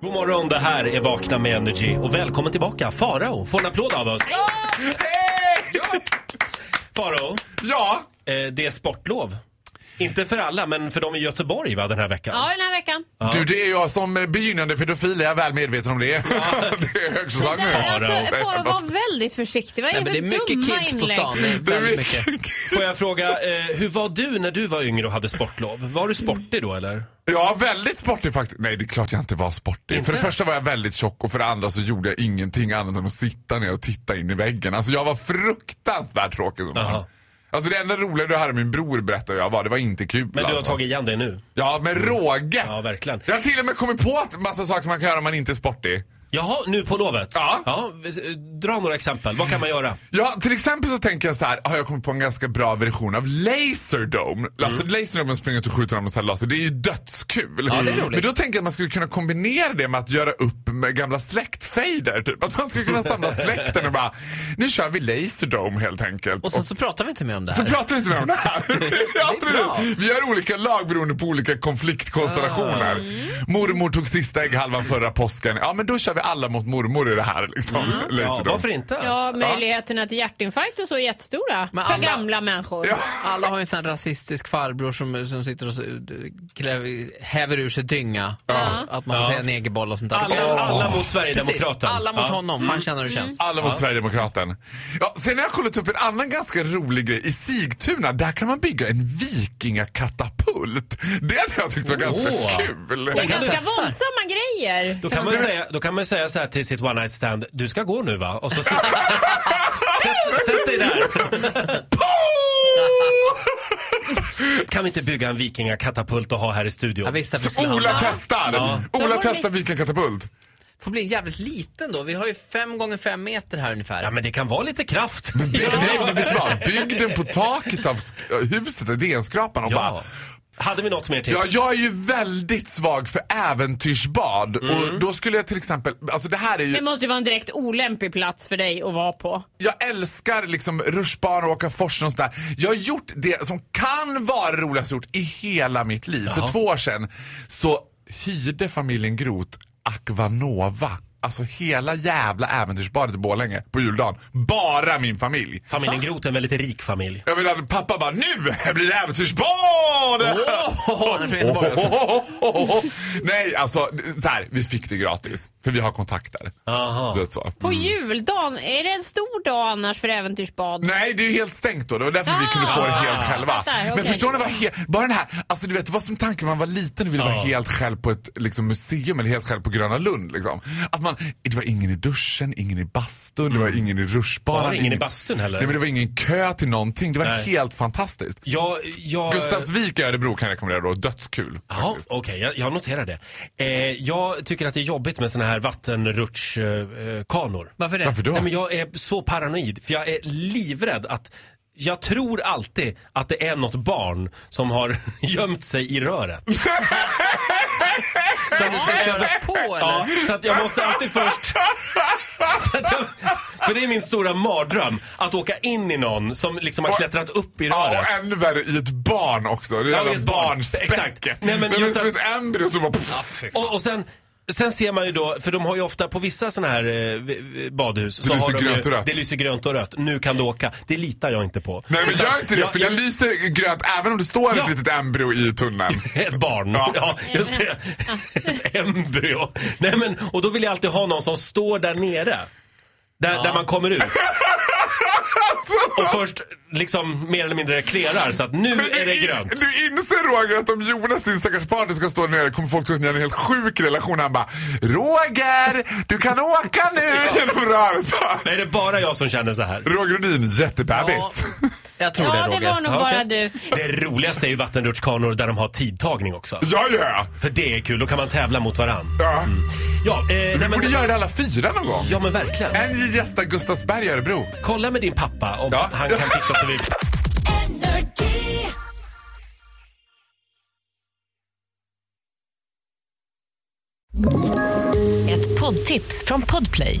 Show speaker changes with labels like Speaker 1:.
Speaker 1: God morgon, det här är Vakna med Energy och välkommen tillbaka Farao. Får en applåd av oss. Farao,
Speaker 2: Ja!
Speaker 1: eh, det är sportlov. Inte för alla, men för dem i Göteborg va, den här veckan.
Speaker 3: Ja, den här veckan.
Speaker 2: Du, det är jag som eh, begynnande pedofil, är jag väl medveten om det. det är högsäsong
Speaker 3: Det är
Speaker 2: nu.
Speaker 3: alltså, Farao var väldigt försiktig. Vad är
Speaker 4: Nej, men det är
Speaker 3: det för
Speaker 4: mycket
Speaker 3: dumma
Speaker 4: kids på
Speaker 3: inlägg?
Speaker 4: stan. Det är
Speaker 2: Det är
Speaker 4: väldigt mycket.
Speaker 1: Får jag fråga, eh, hur var du när du var yngre och hade sportlov? Var du sportig då eller?
Speaker 2: Ja, väldigt sportig faktiskt. Nej, det är klart jag inte var sportig. För det första var jag väldigt tjock och för det andra så gjorde jag ingenting annat än att sitta ner och titta in i väggen. Alltså jag var fruktansvärt tråkig som barn.
Speaker 1: Jaha.
Speaker 2: Alltså det enda roliga du hade min bror berättade jag var, det var inte kul
Speaker 1: Men du har
Speaker 2: alltså.
Speaker 1: tagit igen det nu.
Speaker 2: Ja, med råge.
Speaker 1: Ja, verkligen.
Speaker 2: Jag har till och med kommit på att massa saker man kan göra om man inte är sportig.
Speaker 1: Jaha, nu på lovet?
Speaker 2: Ja.
Speaker 1: eh, Dra några exempel, vad kan man göra?
Speaker 2: Ja, till exempel så tänker jag så här, har jag kommit på en ganska bra version av
Speaker 4: Mm.
Speaker 2: Laserdome. Alltså Laserdomen springer ut och skjuter honom med så här laser, det är ju dödskul.
Speaker 4: Ja, det är roligt.
Speaker 2: Men då tänker jag att man skulle kunna kombinera det med att göra upp med gamla släktfejder. Typ. Att man skulle kunna samla släkten och bara, nu kör vi Laserdome helt enkelt.
Speaker 4: Och sen så pratar vi inte mer om det
Speaker 2: Så
Speaker 4: här.
Speaker 2: pratar vi inte mer om det här. ja,
Speaker 4: Det är bra.
Speaker 2: precis. Vi gör olika lag beroende på olika konfliktkonstellationer.
Speaker 4: Mm.
Speaker 2: Mormor tog sista ägghalvan förra påsken. Ja, men då kör vi alla mot mormor i det här. Liksom.
Speaker 4: Mm.
Speaker 1: Ja,
Speaker 2: Laserdome.
Speaker 1: varför inte?
Speaker 3: Ja, möjligheterna till hjärtinfarkt och så är jättestora
Speaker 4: Men
Speaker 3: för
Speaker 4: alla-
Speaker 3: gamla människor.
Speaker 4: Alla har ju en sån här rasistisk farbror som, som sitter och s- klä- häver ur sig dynga. Att man får säga negerboll och sånt där.
Speaker 1: Alla,
Speaker 4: Åh,
Speaker 1: alla mot
Speaker 4: precis.
Speaker 1: Sverigedemokraterna.
Speaker 4: alla mot
Speaker 1: Ja.
Speaker 4: honom. Fan känner hur det känns.
Speaker 2: Alla mot Sverigedemokraten. Ja, sen har jag kollat upp en annan ganska rolig grej. I Sigtuna, där kan man bygga en vikingakatapult. Det hade jag tyckt var ganska
Speaker 1: Åh.
Speaker 2: kul.
Speaker 3: Det är
Speaker 4: Jag kan
Speaker 3: ganska
Speaker 4: testa.
Speaker 3: våldsamma grejer.
Speaker 1: Då kan, man ju säga, då kan man ju säga så här till sitt one night stand, du ska gå nu va? Och så, sätt, sätt dig där. Kan vi inte bygga en vikingakatapult och ha här i
Speaker 4: Jag
Speaker 1: studion?
Speaker 4: visste att vi skulle
Speaker 2: Så Ola
Speaker 4: hamna-
Speaker 2: testar.
Speaker 3: Då var
Speaker 2: Ola
Speaker 3: det-
Speaker 2: testar vikingakatapult.
Speaker 4: får bli jävligt liten då. Vi har ju fem gånger fem meter här ungefär.
Speaker 1: Ja men det kan vara lite kraft.
Speaker 2: Bygg, nej, men vet du vad? Bygg den på taket av sk- huset, där DN-skrapan och bara
Speaker 1: Ja. Hade vi något mer tips?
Speaker 2: Ja, jag är ju väldigt svag för äventyrsbad.
Speaker 4: Mm.
Speaker 2: Och då skulle jag till exempel, alltså det här är ju
Speaker 3: Det måste ju vara en direkt olämplig plats för dig att vara på.
Speaker 2: Jag älskar liksom rutschbanor och åka forsen och sådär. Jag har gjort det som kan vara roligast gjort i hela mitt liv. För två år sedan så hyrde familjen Groth Aquanova. Alltså hela jävla äventyrsbadet i Borlänge på juldagen. Bara min familj.
Speaker 1: Familjen Groth är en väldigt rik familj.
Speaker 2: Jag menar pappa bara nu blir det äventyrsbad!
Speaker 4: Åh, den är från Göteborg också.
Speaker 2: Nej, alltså så här, vi fick det gratis. För vi har kontakter.
Speaker 1: Aha.
Speaker 2: Du vet så.
Speaker 4: Mm.
Speaker 3: På juldagen, är det en stor dag annars för äventyrsbad?
Speaker 2: Nej, det är ju helt stängt då. Det var därför vi
Speaker 3: Ah,
Speaker 2: kunde få det helt själva.
Speaker 3: fattar,
Speaker 2: Men
Speaker 3: okej.
Speaker 2: förstår ni vad he- bara den här, alltså du vet vad som tanken man var liten och ville vara
Speaker 1: Ja.
Speaker 2: helt själv på ett liksom, museum eller helt själv på Gröna Lund liksom. Att man, det var ingen i duschen, ingen i bastun, det var ingen i rutschbanan.
Speaker 1: Var det Mm. ingen i bastun heller?
Speaker 2: Nej men det var ingen kö till någonting, det var
Speaker 1: Nej.
Speaker 2: helt fantastiskt.
Speaker 1: Jag, jag...
Speaker 2: Gustavsvik i Örebro kan jag rekommendera då, dödskul.
Speaker 1: Ja,
Speaker 2: faktiskt.
Speaker 1: okej, jag, jag noterar det. Eh, jag tycker att det är jobbigt med såna här vattenrutschkanor. Eh, kanor.
Speaker 4: Varför det?
Speaker 2: Varför då?
Speaker 1: Nej, men jag är så paranoid, för jag är livrädd att jag tror alltid att det är något barn som har gömt sig i röret.
Speaker 4: Så du ska köra på eller?
Speaker 1: Ja, så att jag måste alltid först... Så att jag, för det är min stora mardröm, att åka in i någon som liksom har klättrat upp i
Speaker 2: Ja,
Speaker 1: röret.
Speaker 2: och ännu värre i ett barn också. Det
Speaker 1: Ja,
Speaker 2: där
Speaker 1: i
Speaker 2: ja,
Speaker 1: ett barn. Exakt.
Speaker 2: barnspäcket.
Speaker 1: Nej, men
Speaker 2: Nej, men det är
Speaker 1: just
Speaker 2: som
Speaker 1: att-
Speaker 2: ett embryo som bara...
Speaker 1: Och, och sen, sen ser man ju då, för de har ju ofta på vissa sådana här eh, v- v- badhus. så
Speaker 2: lyser
Speaker 1: har de
Speaker 2: grönt
Speaker 1: ju,
Speaker 2: och rött.
Speaker 1: Det lyser grönt och rött. Nu kan du åka. Det litar jag inte på.
Speaker 2: Nej men gör inte det,
Speaker 1: Jag-
Speaker 2: för den lyser grönt även om det står
Speaker 1: Ja.
Speaker 2: ett litet embryo i tunneln.
Speaker 1: Ett barn. Ja.
Speaker 2: Ja.
Speaker 1: just det. Ett embryo. Nej, men, och då vill jag alltid ha någon som står där nere. Där, där man kommer ut.
Speaker 2: Alltså!
Speaker 1: Och först liksom mer eller mindre klerar så att nu är det
Speaker 2: in-
Speaker 1: grönt.
Speaker 2: du inser Roger att om Jonas, din stackars partner, ska stå nere kommer folk tro att ni har en helt sjuk relation. Han bara Roger, du kan åka nu genom röret.
Speaker 1: Nej, det är bara jag som känner så här.
Speaker 2: Roger Rhodin, jättebebis.
Speaker 4: Jag tror
Speaker 3: Ja,
Speaker 4: det Roger.
Speaker 3: det var nog
Speaker 1: Ja,
Speaker 3: bara
Speaker 1: okej.
Speaker 3: du.
Speaker 1: Det roligaste är ju vattenrutschkanor där de har tidtagning också.
Speaker 2: Ja, ja.
Speaker 1: För det är kul, då kan man tävla mot varann.
Speaker 2: ja.
Speaker 1: Ja, eh, nej,
Speaker 2: Vi
Speaker 1: men,
Speaker 2: borde göra det alla fyra någon gång.
Speaker 1: ja men verkligen.
Speaker 2: En i gästa Gustavsberg i Örebro.
Speaker 1: Kolla med din pappa om
Speaker 2: Ja.
Speaker 1: han kan fixa så vi...
Speaker 5: Ett poddtips från Podplay.